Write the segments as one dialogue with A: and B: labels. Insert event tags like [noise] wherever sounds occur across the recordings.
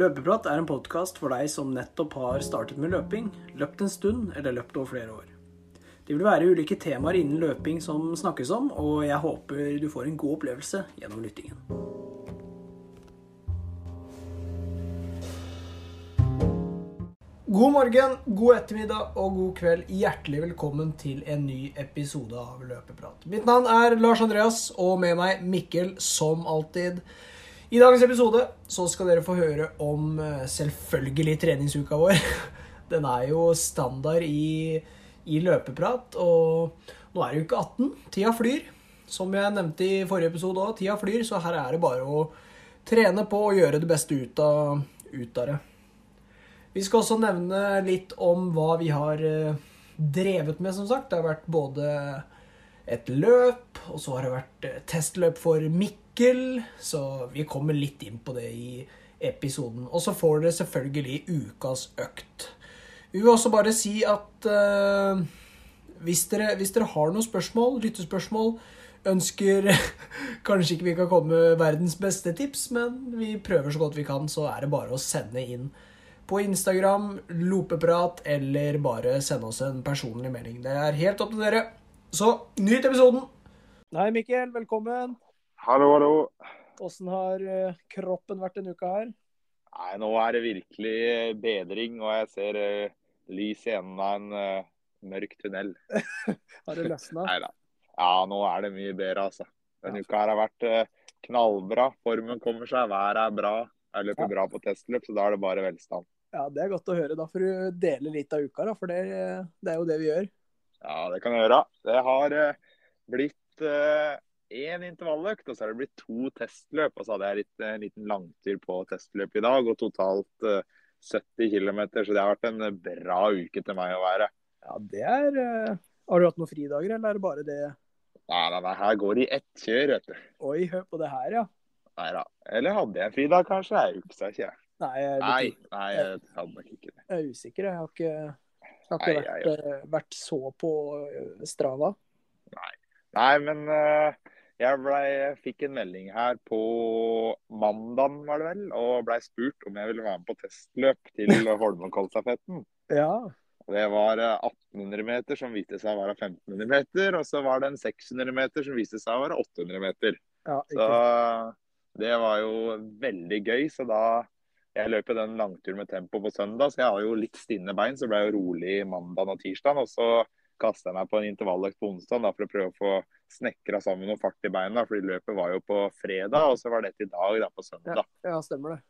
A: Løpeprat er en podkast for deg som nettopp har startet med løping, løpt en stund eller løpt over flere år. Det vil være ulike temaer innen løping som snakkes om, og jeg håper du får en god opplevelse gjennom lyttingen. God morgen, god ettermiddag og god kveld. Hjertelig velkommen til en ny episode av Løpeprat. Mitt navn er Lars Andreas, og med meg Mikkel, som alltid. I dagens episode så skal dere få høre om eh, selvfølgelig treningsuka vår. [laughs] Den er jo standard i, i løpeprat, og nå er det jo ikke 18. Tida flyr. Som jeg nevnte i forrige episode òg, tida flyr, så her er det bare å trene på og gjøre det beste ut av, ut av det. Vi skal også nevne litt om hva vi har eh, drevet med, som sagt. Det har vært både et løp, og så har det vært eh, testløp for Mikkel. Så vi kommer litt inn på det i episoden. Og så får dere selvfølgelig ukas økt. Vi vil også bare si at eh, hvis, dere, hvis dere har noen spørsmål, lyttespørsmål, ønsker [laughs] Kanskje ikke vi kan komme med verdens beste tips, men vi prøver så godt vi kan, så er det bare å sende inn på Instagram, lopeprat, eller bare sende oss en personlig melding. Det er helt opp til dere. Så nyt episoden! Hei, Mikkel. Velkommen.
B: Hallo, hallo.
A: Åssen har eh, kroppen vært denne uka her?
B: Nei, nå er det virkelig eh, bedring, og jeg ser eh, lys i enden av en eh, mørk tunnel.
A: Har det løsna?
B: [laughs] Nei da. Ja, nå er det mye bedre, altså. Denne uka her har vært eh, knallbra. Formen kommer seg, været er bra. Jeg løper bra på testløp, så da er det bare velstand.
A: Ja, det er godt å høre. Da får du dele litt av uka, da, for det, eh, det er jo det vi gjør.
B: Ja, det kan jeg gjøre. Det har eh, blitt eh, én intervalløkt, og så har det blitt to testløp. Og så hadde jeg litt, en liten langtur på testløp i dag, og totalt eh, 70 km. Så det har vært en eh, bra uke til meg å være.
A: Ja, det er eh, Har du hatt noen fridager, eller er det bare det
B: Nei, nei, nei, her går det i ett kjør, vet du.
A: Oi, hør på det her, ja.
B: Nei da. Eller hadde jeg en fridag, kanskje? Jeg juksa ikke, jeg.
A: Nei, jeg er,
B: Nei,
A: litt,
B: nei, jeg hadde nok ikke det.
A: jeg er usikker. Jeg har ikke, jeg har
B: Nei,
A: ikke
B: jeg-
A: vært, eh, vært så på eh, Strava.
B: Nei, men eh, jeg blei, fikk en melding her på mandagen, var det vel, og blei spurt om jeg ville være med på testløp til Holmenkollstafetten.
A: Ja.
B: Og Det var eh, 1800 meter som viste seg å være 1500 meter, og så var det en 600 meter som viste seg å være 800 meter.
A: ja ikke
B: Så
A: sant.
B: det var jo veldig gøy. Så da Jeg løp jo den langturen med tempo på søndag, så jeg har jo litt stinne bein. Så ble jeg jo rolig mandag og tirsdag. Og så kasta jeg meg på en intervalløkt på onsdag da, for å prøve å få snekra sammen noe fart i beina. fordi løpet var jo på fredag, og så var dette i dag, da, på søndag.
A: ja, stemmer det.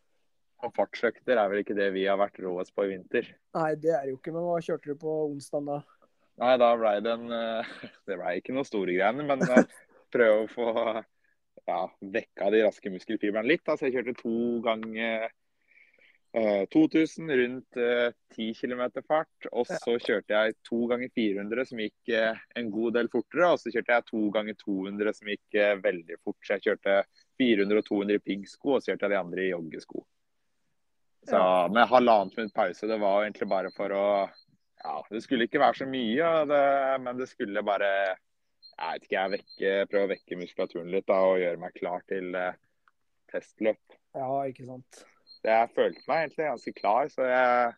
B: Og fartsøkter er vel ikke det vi har vært råest på i vinter.
A: Nei, det er det jo ikke. Men hva kjørte du på onsdag da?
B: Nei, da blei det en eh, [laughs] Det blei ikke noe store greiene, men eh, prøve å få ja, vekka de raske muskelfibrene litt. Da. Så jeg kjørte to ganger eh, 2000 rundt eh, 10 km fart. Og så kjørte jeg to ganger 400 som gikk eh, en god del fortere. Og så kjørte jeg to ganger 200 som gikk eh, veldig fort. Så jeg kjørte 400 og 200 i piggsko, og så kjørte jeg de andre i joggesko. Så
A: Ja.
B: med halvannet minutt pause, det var egentlig bare for å ja, Det skulle ikke være så mye, og det, men det skulle bare jeg vet ikke, jeg vekke, prøve å vekke muskulaturen litt da, og gjøre meg klar til eh, testløp.
A: Ja, ikke sant.
B: Jeg følte meg egentlig ganske klar, så jeg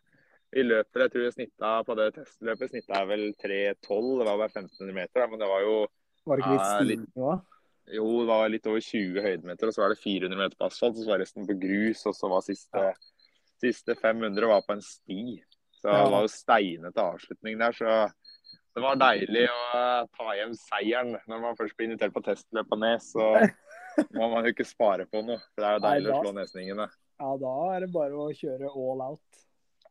B: i løpet jeg tror jeg snitta på det testløpet snitta jeg vel 3,12. Det var bare 1500 meter, da, men det var jo
A: Var det ikke litt
B: Ja, litt-
A: stigende òg?
B: jo, det var litt over 20 høydemeter, og så var det 400 meter på asfalt, og så var resten på grus, og så var siste, siste 500 var på en sti. Så
A: Ja.
B: det var jo steinete avslutning der, så det var deilig å eh, ta hjem seieren når man først blir invitert på testløp på Nes. Så
A: [laughs]
B: må man jo ikke spare på noe, for det er jo
A: Nei,
B: deilig å
A: da-
B: slå nesningene.
A: Ja, da er det bare å kjøre all out.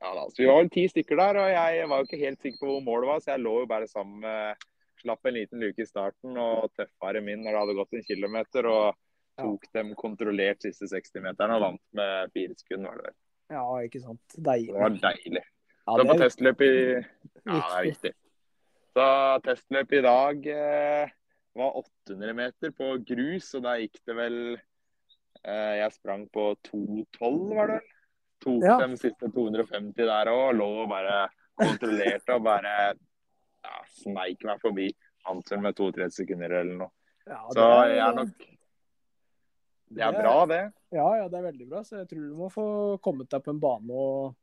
B: Ja, da, så vi var vel ti stykker der, og jeg var jo ikke helt sikker på hvor målet var, så jeg lå jo bare sammen med Slapp en liten luke i starten og tøffere min når det hadde gått en kilometer. Og tok dem kontrollert siste 60-meterne og vant med fire sekunder, var det vel.
A: Ja, ikke sant.
B: Det
A: Deilig.
B: var deilig.
A: Ja,
B: Så
A: det
B: på
A: er
B: testløp i Ja, det er
A: viktig.
B: viktig. Så testløp i dag eh, var 800 meter på grus, og da gikk det vel eh, Jeg sprang på 2,12, var det vel? Tok
A: Ja.
B: de siste 250 der òg, lå og bare kontrollerte og bare ja, sneik meg forbi Hansen med 2-3 sekunder eller noe.
A: Ja,
B: Så
A: det
B: jeg er nok Det er bra, det.
A: Ja, ja, det er veldig bra. Så jeg tror du må få kommet deg på en bane og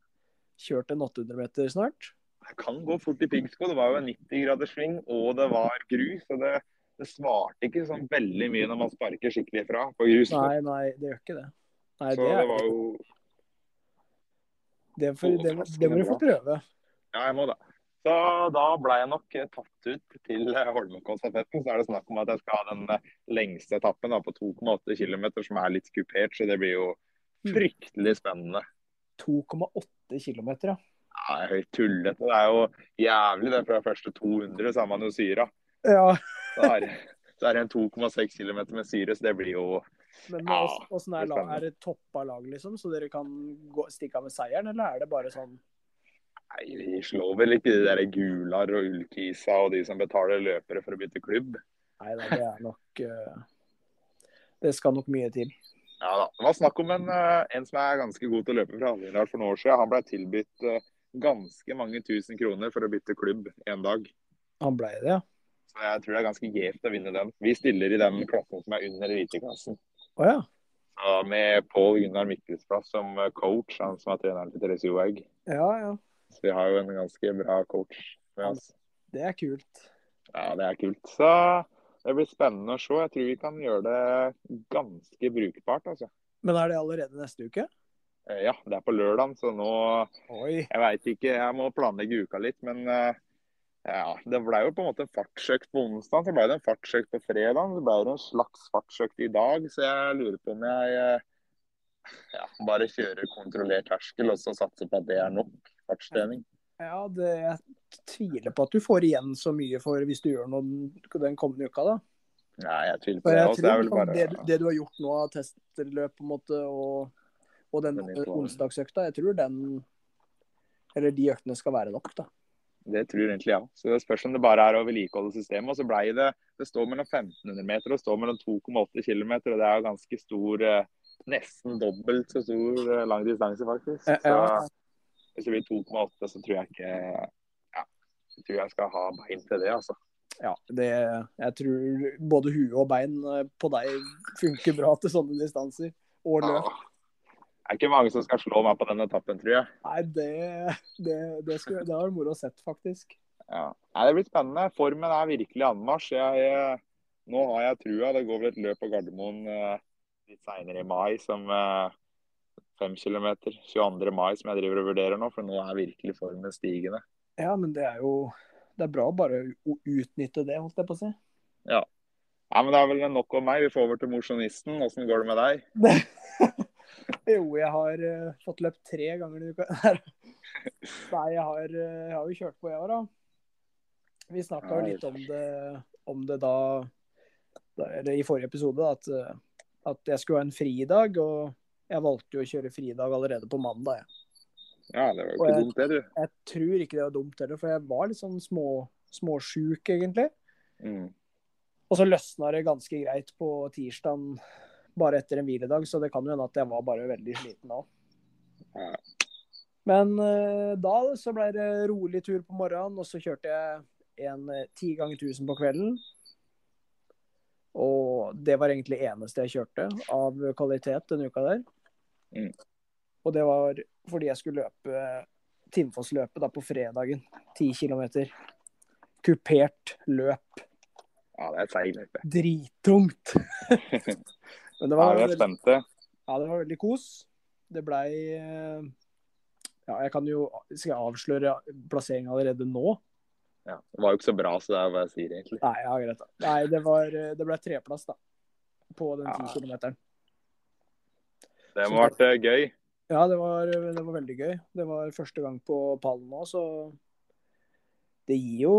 A: kjørt en 800 meter snart.
B: Jeg kan gå fort i piggsko. Det var jo en 90 graders sving, og det var grus. Og det, det svarte ikke sånn veldig mye når man sparker skikkelig fra på grus.
A: Nei, nei, det gjør ikke det. Nei,
B: så
A: det,
B: det
A: er,
B: var jo
A: det, får- det, må- det må du få prøve.
B: Ja, jeg må det. Så da ble jeg nok eh, tatt ut til eh, Holmenkollstafetten. Så er det snakk om at jeg skal ha den eh, lengste etappen da, på 2,8 km, som er litt kupert. Så det blir jo
A: Mm.
B: fryktelig spennende.
A: 2,8 km, ja.
B: Ja, det er høyt tullete. Det er jo jævlig det fra første 200, så er man jo syra.
A: Ja,
B: Så er, så er det [laughs] en 2,6 km med syre, så det blir jo
A: Men
B: Ja,
A: ås- åssen er,
B: det er
A: lag- er
B: spennende.
A: det toppa lag, liksom? Så dere kan gå, stikke av med seieren, eller er det bare sånn
B: Nei, vi slår vel ikke de der Gular og Ulkisa og de som betaler løpere for å bytte klubb.
A: Nei da, det er nok eh, Det skal nok mye til.
B: Ja da. Det var snakk om en, eh, en som er ganske god til å løpe fra Hallingdal for noen år siden. Han ble tilbudt eh, ganske mange tusen kroner for å bytte klubb en dag.
A: Han blei det, ja.
B: Så jeg tror det er ganske gjevt å vinne den. Vi stiller i den klassen som er under eliteklassen.
A: Å ja.
B: Ja, Med Pål Gunnar Mikkelsplass som eh, coach, han som er treneren til Therese Johaug.
A: Ja ja.
B: Så vi har jo en ganske bra coach med oss.
A: Det er kult.
B: Ja, det er kult. Så det blir spennende å se. Jeg tror vi kan gjøre det ganske brukbart, altså.
A: Men er det allerede neste uke?
B: Eh, Ja, det er på lørdag, så nå
A: Oi.
B: Jeg veit ikke, jeg må planlegge uka litt, men eh, ja, det ble jo på en måte en fartsøkt på onsdag, så ble det en fartsøkt på fredag, så ble det en slags fartsøkt i dag, så jeg lurer på om jeg eh, ja, bare kjører kontrollert terskel og så satser på at det er nok fartstrening.
A: Ja, det, jeg tviler på at du får igjen så mye for hvis du gjør noe den- den kommende uka, da.
B: Nei, jeg tviler på
A: For
B: det.
A: jeg
B: Også, det er
A: tror
B: vel
A: liksom
B: bare
A: det, du- det du har gjort nå av testløp på en måte, og, og den
B: Den er klar.
A: onsdagsøkta, jeg tror den Eller de øktene skal være nok, da.
B: Det tror egentlig jeg òg. Så det spørs om det bare er å vedlikeholde systemet. Og så blei det Det står mellom 1500 meter og det står mellom 2,8 km, og det er jo ganske stor eh, Nesten dobbelt så stor eh, lang distanse, faktisk.
A: Ja,
B: Så
A: ja.
B: hvis det blir 2,8, så tror jeg ikke Ja. Jeg tror jeg skal ha bein til det, altså.
A: Ja, det, jeg tror både hue og bein eh, på deg funker bra til sånne distanser. Og
B: Ja.
A: løp.
B: Det er ikke mange som skal slå meg på den etappen, tror jeg.
A: Nei, det, det, det, skulle, det har vært moro å sett, faktisk.
B: Ja. Nei, det blir spennende. Formen er virkelig anmarsj. Jeg, eh, nå har jeg trua. Det går vel et løp på Gardermoen eh, litt seinere i mai som eh, 5 km. 22. mai som jeg driver og vurderer nå, for nå er virkelig formen stigende.
A: Ja, men det er jo Det er bra å bare å utnytte det, holdt jeg på å si. [laughs]
B: Nei, men Det er vel nok om meg. Vi får over til mosjonisten. Åssen går det med deg?
A: Jo, jeg har eh, fått løpt tre ganger denne uka. [laughs] Nei, jeg har, eh, jeg har jo kjørt på i år, da. Vi snakka jo
B: Nei.
A: litt om det, om det da, da Eller i forrige episode, da, at, eh, at jeg skulle ha en fridag. Og jeg valgte jo å kjøre fridag allerede på mandag. Jeg,
B: Ja, Det var jo
A: Og jeg-
B: ikke dumt, det, du.
A: jeg tror ikke det var dumt heller, for jeg var litt sånn små, småsjuk, egentlig.
B: Mm.
A: Og så løsna det ganske greit på tirsdagen, bare etter en hviledag, så det kan jo hende at jeg var bare veldig sliten da.
B: Ja.
A: Men eh, da så ble det rolig tur på morgenen, og så kjørte jeg en eh, 10 ganger 1000 på kvelden. Og det var egentlig eneste jeg kjørte av kvalitet denne uka der.
B: Mm.
A: Og det var fordi jeg skulle løpe Tinnfossløpet da på fredagen. 10 km. Kupert løp
B: Ja, det er et seigt løype.
A: drittungt. [laughs] Men det
B: Ja,
A: var,
B: vi er
A: veldig,
B: spente.
A: ja, det var veldig kos. Det blei eh, Ja, jeg kan jo Skal jeg avsløre plasseringa allerede nå?
B: Ja, det var jo ikke så bra, så det er hva jeg sier, egentlig.
A: Nei, ja, greit. da. Nei, det, var, eh, det ble treplass, da. På den ti
B: Ja.
A: kilometeren.
B: Det må ha vært eh, gøy.
A: Ja, det var, det var veldig gøy. Det var første gang på pallen nå, så det gir jo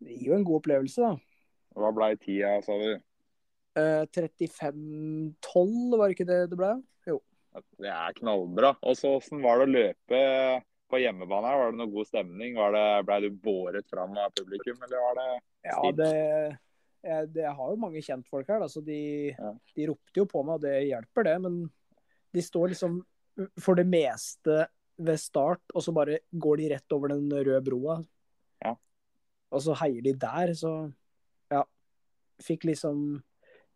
A: det gir jo en god opplevelse, da.
B: Hva blei tida, sa du?
A: Eh, 35-12, var det ikke det det ble?
B: Det er knallbra. Og så Hvordan var det å løpe på hjemmebane? her? Var det noe god stemning? Var det, ble du båret fram av publikum, eller var det
A: Ja,
B: Stilt.
A: det, jeg, det jeg har jo mange kjentfolk her, da, så de,
B: Ja.
A: de ropte jo på meg, og det hjelper det. Men de står liksom for det meste ved start, og så bare går de rett over den røde broa.
B: Ja.
A: Og så heier de der, så ja. Fikk liksom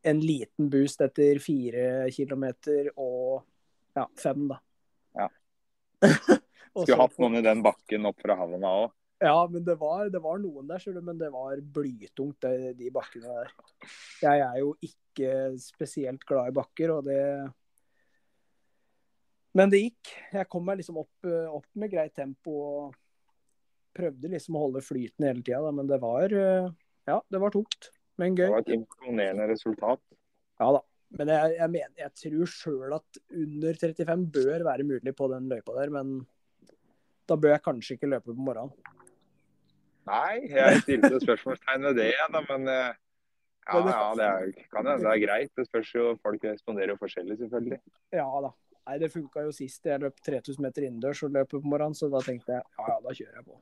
A: en liten boost etter fire kilometer og ja, fem, da.
B: Ja.
A: [laughs] Og så-
B: Skulle hatt noen i den bakken opp fra havna òg.
A: Ja, men det var, det var noen der, skjønner du, men det var blytungt, det, de bakkene der. Jeg er jo ikke spesielt glad i bakker, og det Men det gikk. Jeg kom meg liksom opp, eh, opp med greit tempo og prøvde liksom å holde flyten hele tida, men det var eh, Ja, det var tungt, men
B: Det
A: gøy.
B: var et imponerende resultat.
A: Ja da. Men jeg, jeg mener, jeg tror sjøl at under 35 bør være mulig på den løypa der, men da bør jeg kanskje ikke løpe på morgenen.
B: Nei, jeg stilte spørsmålstegn ved det, ja, da, men eh, ja,
A: Men det-
B: ja, det er, kan hende det er greit. Det spørs jo, folk responderer jo forskjellig, selvfølgelig.
A: Ja da. Nei, det funka jo sist jeg løp 3000 meter innendørs og løp på morgenen, så da tenkte jeg ja, ja, da kjører jeg på.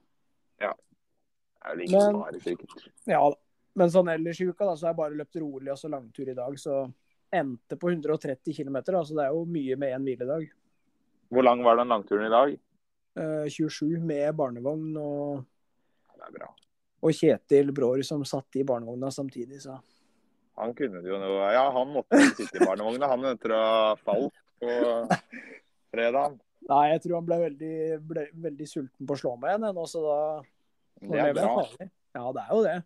B: Det er vel ingen
A: Men-
B: fare, sikkert.
A: Ja da. Men sånn ellers i uka, da, så har jeg bare løpt rolig og så langtur i dag, så endte på 130 km, da, så det er jo mye med én hviledag.
B: Hvor lang var den langturen i dag?
A: Eh, 27 med barnevogn og,
B: Det er bra.
A: og Kjetil Bråer som satt i barnevogna samtidig, så
B: Han kunne det jo noe Ja, han måtte jo sitte i barnevogna, han etter å ha falt på fredag.
A: Nei, jeg tror han ble veldig, ble veldig sulten på å slå meg igjen, ennå, så da
B: Det er bra.
A: farlig. Ja, det er jo det.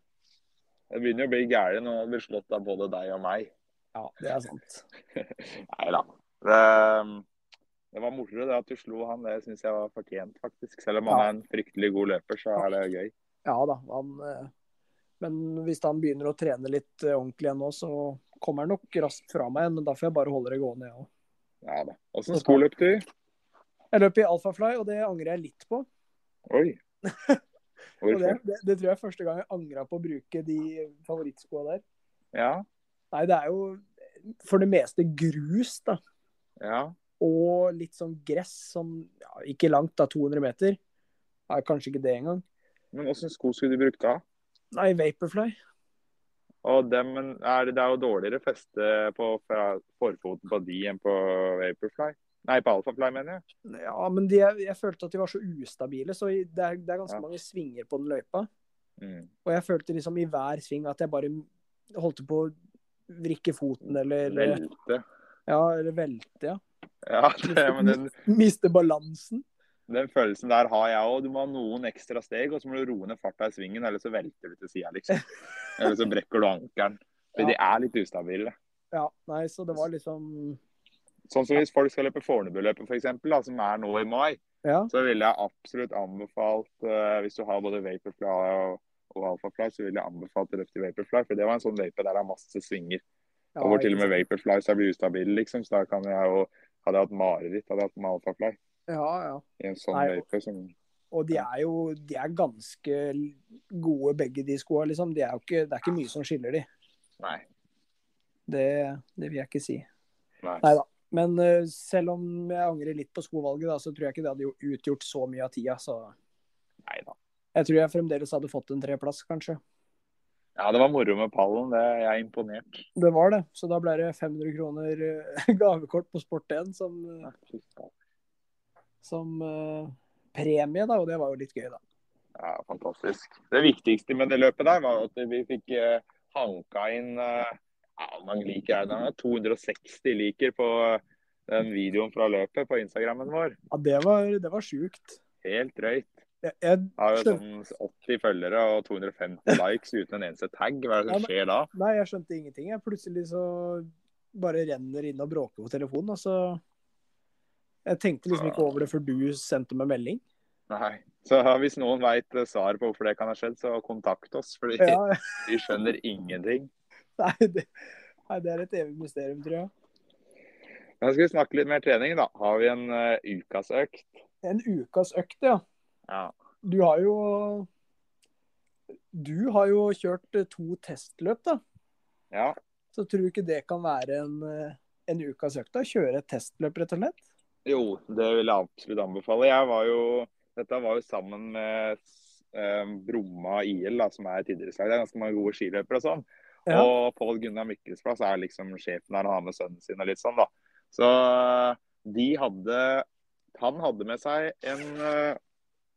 B: Det begynner jo å bli gærent når han blir slått av både deg og meg.
A: Ja, det er sant.
B: Nei da. Ehm, Det, det var moro det at du slo han. Det syns jeg var fortjent, faktisk. Selv om han
A: Ja.
B: er en fryktelig god løper, så er det gøy.
A: Ja da. Han, eh, men hvis han begynner å trene litt eh, ordentlig igjen nå, så kommer han nok raskt fra meg. Men da får jeg bare holde det gående, jeg òg.
B: Ja da. Åssen sko løp du?
A: Jeg løp i Alphafly, og det angrer jeg litt på.
B: Oi.
A: [laughs] Og det,
B: Hvorfor?
A: det, det tror jeg er første gang jeg angra på å bruke de favorittskoa der.
B: Ja.
A: Nei, det er jo for det meste grus, da.
B: Ja.
A: Og litt sånn gress, sånn ja, ikke langt, da, 200 meter. Nei, kanskje ikke det engang.
B: Men åssen sko skulle du brukt da?
A: Nei, Vaporfly.
B: Og dem er, det er jo dårligere feste på fra forfoten på de enn på Vaporfly. Nei, på Alphafly, mener jeg.
A: Ja, men de, er- jeg følte at de var så ustabile, så i- det er, det er ganske
B: Ja.
A: mange svinger på den løypa.
B: Mm.
A: Og jeg følte liksom i hver sving at jeg bare holdt på å vrikke foten eller
B: Velte.
A: Ja, eller velte, ja.
B: Ja, [laughs] det, men den,
A: Miste balansen.
B: den følelsen der har jeg òg. Du må ha noen ekstra steg, og så må du roe ned farta i svingen, eller så velter du til sida,
A: [laughs]
B: liksom. Eller så brekker du ankelen. For de er litt ustabile.
A: Ja, nei, så det var liksom
B: Sånn som hvis folk skal løpe Fornebuløpet, f.eks., for eksempel, da, som er nå i mai,
A: Ja,
B: så ville jeg absolutt anbefalt, eh, hvis du har både Vaporfly og, og Alphafly, så ville jeg anbefalt å løpe til Vaporfly, for det var en sånn løype der det er masse svinger.
A: ja
B: Og hvor til og med
A: ikke-
B: Vaporflies er blir ustabile, liksom. Så da kan jeg jo Hadde jeg hatt mareritt, hadde jeg hatt med Alphafly
A: Ja, ja.
B: i en sånn
A: Nei,
B: løype som
A: Og de er jo de er ganske gode, begge de skoa, liksom. De er jo ikke, det er ikke mye som skiller de.
B: Nei.
A: Det, det vil jeg ikke si.
B: Nei.
A: Nei da. Men eh, selv om jeg angrer litt på skovalget, da, så tror jeg ikke det hadde jo utgjort så mye av tida. Så
B: Nei da.
A: jeg tror jeg fremdeles hadde fått en treplass, kanskje.
B: Ja, det var moro med pallen. Det, jeg er imponert.
A: Det var det. Så da ble det 500 kroner eh, [laughs] gavekort på Sport1 som, eh,
B: Fy faen.
A: som eh, premie, da. Og det var jo litt gøy, da.
B: Ja, fantastisk. Det viktigste med det løpet der var at vi fikk eh, hanka inn eh, ja, hvor mange liker er det? da? 260 liker på eh, den videoen fra løpet på Instagrammen vår.
A: Ja, det var, det var sjukt.
B: Helt drøyt.
A: Jeg, jeg,
B: Har jo
A: skjønte,
B: sånn 80 følgere og 250 likes uten en eneste tagg. Hva er
A: Ja,
B: det
A: men-
B: som skjer da?
A: nei, jeg skjønte ingenting. Jeg plutselig så bare renner inn og bråker på telefonen. Og så Jeg tenkte liksom ikke over det før du sendte meg melding.
B: Nei. Så hvis noen veit svaret på hvorfor det kan ha skjedd, så kontakt oss. For vi
A: Ja,
B: [laughs]
A: [laughs]
B: vi skjønner ingenting.
A: nei, det, nei, det er et evig mysterium, tror jeg.
B: Men skal vi snakke litt mer trening, da. Har vi en eh, ukasøkt?
A: En ukas økt, ja.
B: Ja.
A: Du har jo Du har jo kjørt eh, to testløp, da.
B: ja.
A: Så tror du ikke det kan være en, eh, en ukas økt? da? Kjøre et testløp, rett og slett?
B: Jo, det vil jeg absolutt anbefale. Jeg var jo Dette var jo sammen med eh, Bromma IL, da, som er et idrettslag. Det er ganske mange gode skiløpere og sånn.
A: Ja.
B: Og Pål Gunnar Mikkelsplass er liksom sjefen der, han har med sønnen sin og litt sånn, da. Så de hadde Han hadde med seg en eh,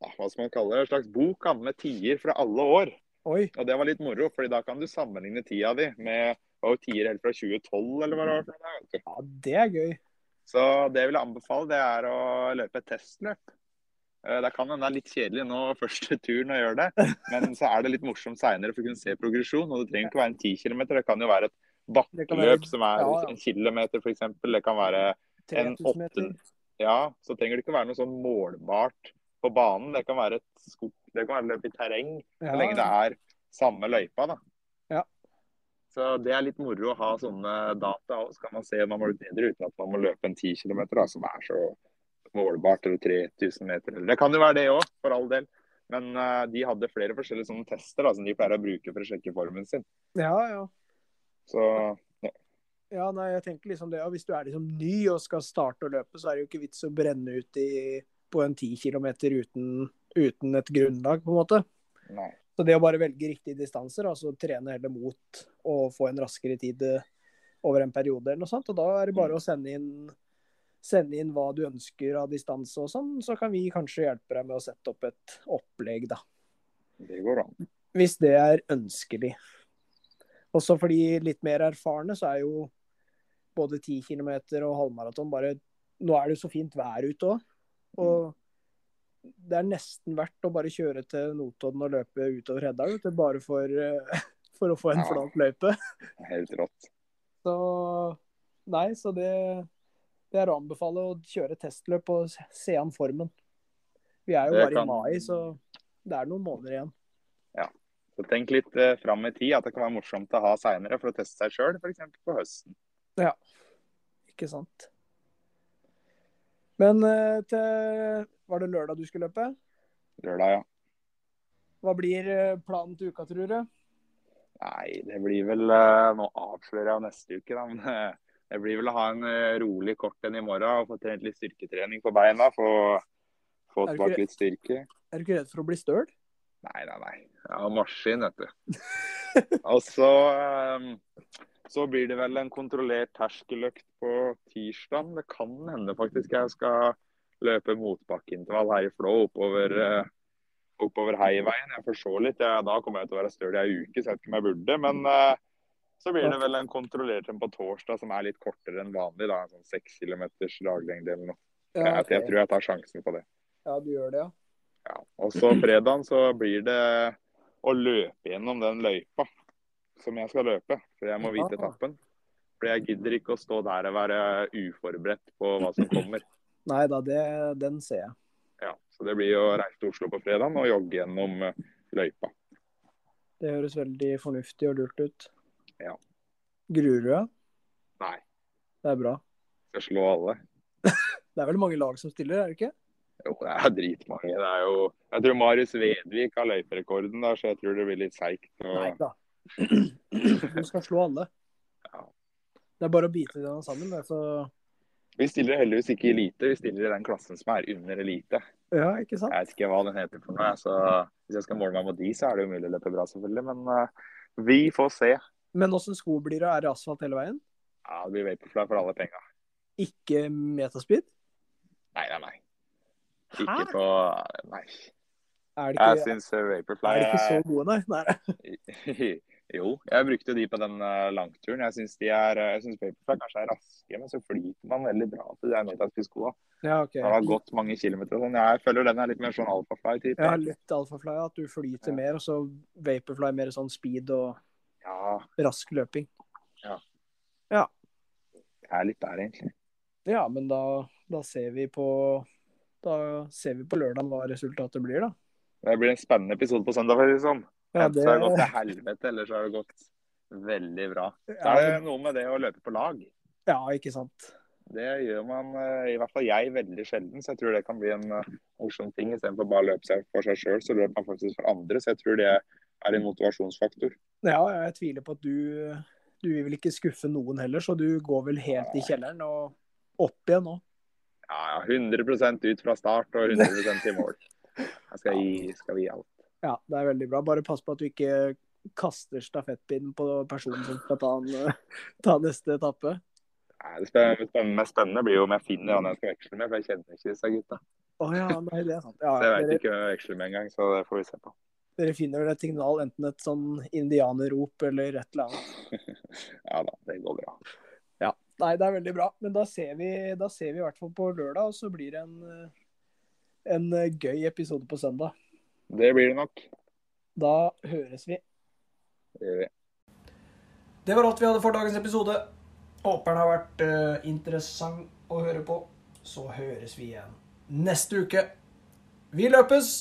B: ja, hva skal man kalle det, en slags bok han, med tider fra alle år.
A: Oi.
B: Og det var litt moro, fordi da kan du sammenligne tida di med var jo tier helt fra 2012 eller hva det var. for noe, vet du.
A: Ja, det er gøy.
B: Så det jeg vil anbefale, det er å løpe et testløp. Eh, Det kan hende det er litt kjedelig nå [laughs] første turen å gjøre det, men så er det litt morsomt seinere for å kunne se progresjon. Og det trenger ikke være en 10 km, det kan jo være et
A: Det kan være-
B: bakkeløp som er
A: ja, ja.
B: en kilometer f.eks. Det kan være
A: 3000 meter.
B: åtte- Ja, så trenger det ikke være noe sånn målbart på banen. Det kan være et skog, det kan være løp i terreng, så lenge det
A: Ja,
B: er samme løypa, da.
A: Ja.
B: Så det er litt moro å ha sånne data òg, så kan man se om man var litt bedre uten at man må løpe en 10 km, da, som er så målbart, eller 3000 meter. eller- Det kan jo være det òg, for all del. Men eh, de hadde flere forskjellige sånne tester da, som de pleier å bruke for å sjekke formen sin.
A: ja, ja.
B: Så
A: Ja, nei, jeg tenker liksom det. Og hvis du er liksom ny og skal starte å løpe, så er det jo ikke vits å brenne ut i, på en 10 km uten, uten et grunnlag, på en måte.
B: nei.
A: Så det å bare velge riktige distanser, altså trene heller mot å få en raskere tid eh, over en periode eller noe sånt, og da er det bare å sende inn, sende inn hva du ønsker av distanse og sånn, så kan vi kanskje hjelpe deg med å sette opp et opplegg, da.
B: Det går an.
A: Hvis det er ønskelig. Også for de litt mer erfarne, så er jo både 10 km og halvmaraton bare Nå er det jo så fint vær ute òg.
B: Mm.
A: Og det er nesten verdt å bare kjøre til Notodden og løpe utover Hedda, vet du, bare for, [laughs] eh, for å få en
B: Ja.
A: flat løype.
B: Helt rått.
A: Så nei, så det, det er å anbefale å kjøre testløp og se- se an formen. Vi er jo
B: Det
A: bare
B: kan-
A: i mai, så det er noen måneder igjen.
B: Så tenk litt eh, fram i tid, at det kan være morsomt å ha seinere for å teste seg sjøl, f.eks. på høsten.
A: Ikke sant. Men eh, til Var det lørdag du skulle løpe?
B: Lørdag, ja.
A: Hva blir eh, planen til uka, tror du?
B: Nei, det blir vel eh, Nå avslører jeg jo neste uke, da. Men eh, det blir vel å ha en eh, rolig kort en i morgen og få trent litt styrketrening på beina. Få, få
A: Er du ikke-
B: tilbake litt styrke.
A: Er du ikke redd for å bli støl?
B: Nei, nei, nei. Jeg har maskin, vet du. [laughs] Og så eh, så blir det vel en kontrollert terskeløkt på tirsdag. Det kan hende faktisk jeg skal løpe motbakkeintervall her i Flå oppover, eh, oppover heiveien. Jeg får se litt. Jeg, da kommer jeg til å være støl i ei uke, så jeg vet ikke om jeg burde. Men eh, så blir det vel en kontrollert en på torsdag som er litt kortere enn vanlig. da, en Sånn seks kilometers daglengde eller noe. Jeg, jeg tror jeg tar sjansen på det.
A: ja, du gjør det, ja.
B: Ja, og så fredagen så blir det å løpe gjennom den løypa som jeg skal løpe. For jeg må vite
A: Ah.
B: etappen. For jeg gidder ikke å stå der og være uforberedt på hva som kommer.
A: Nei da, det, den ser jeg.
B: Ja, så det blir å reise til Oslo på fredagen og jogge gjennom eh, løypa.
A: Det høres veldig fornuftig og lurt ut.
B: Ja.
A: Gruer du deg?
B: Nei,
A: Det er bra.
B: skal slå alle.
A: Det er vel mange lag som stiller, er det ikke?
B: Jo, det er dritmange. Det er jo Jeg tror Marius Vedvik har løyperekorden der, så jeg tror det blir litt seigt.
A: Nei
B: Og...
A: da. [clears throat] Du skal slå alle.
B: Ja.
A: Det er bare å bite dem sammen, det, så
B: Vi stiller heldigvis ikke i elite, vi stiller i den klassen som er under elite.
A: Ja, ikke sant?
B: Jeg vet ikke hva den heter for noe. jeg, Så hvis jeg skal måle meg mot de, så er det umulig å løpe bra, selvfølgelig. Men eh, vi får se.
A: Men åssen sko blir det? Er det asfalt hele veien?
B: Ja, det blir Vaporfly for alle penga.
A: Ikke metaspeed?
B: Nei, nei, nei.
A: Hæ?
B: Ikke på Nei.
A: Er det
B: Jeg
A: ikke,
B: syns Vaporfly
A: er det ikke så
B: er-
A: gode, nei? nei?
B: [laughs] Jo, jeg brukte de på den eh, langturen. Jeg syns de er eh, Jeg synes Vaporfly kanskje er raske, men så flyter man veldig bra til de meterspiskoa.
A: Ja, OK.
B: Når det har gått mange kilometer og sånn. Jeg føler den er litt mer sånn alfafly-type.
A: Ja, litt alfafly, at du flyter
B: Ja.
A: mer, og så vaporfly mer sånn speed og
B: Ja,
A: rask løping.
B: jeg er litt der, egentlig.
A: Ja, men da, da ser vi på da ser vi på lørdag hva resultatet blir, da.
B: Det blir en spennende episode på søndag, for å si det sånn.
A: Ja,
B: Enten
A: det,
B: så har det gått til helvete, eller så har det gått veldig bra. Så er det noe med det å løpe på lag.
A: ja, ikke sant.
B: Det gjør man, eh, i hvert fall jeg, veldig sjelden. Så jeg tror det kan bli en eh, morsom ting. Istedenfor bare å løpe seg for seg sjøl, så løper man faktisk for andre. Så jeg tror det er en motivasjonsfaktor.
A: Ja, jeg tviler på at du Du vil vel ikke skuffe noen heller, så du går vel helt i kjelleren og opp igjen nå.
B: Ja, ja. 100 ut fra start og 100 i
A: [laughs]
B: mål. Jeg skal gi, skal vi gi alt.
A: Ja, det er veldig bra. Bare pass på at du ikke kaster stafettpinnen på personen som skal ta, en, ta neste etappe.
B: Nei, det spen- det spen- mest spennende blir jo om jeg finner han jeg skal veksle med, for jeg kjenner ikke disse gutta.
A: Å ja, nei, det er sant. Ja,
B: Så jeg veit
A: dere,
B: ikke hvem jeg veksler med engang, så det får vi se på.
A: dere finner vel et signal, enten et sånn indianerrop eller et eller annet.
B: Ja da, det går bra.
A: Nei, det er veldig bra. Men da ser vi, da ser vi i hvert fall på lørdag, og så blir det en, eh, en eh, gøy episode på søndag.
B: Det blir det nok.
A: Da høres vi.
B: Det gjør vi.
C: Det var alt vi hadde for dagens episode. Håper den har vært eh, interessant å høre på. Så høres vi igjen neste uke. Vi løpes!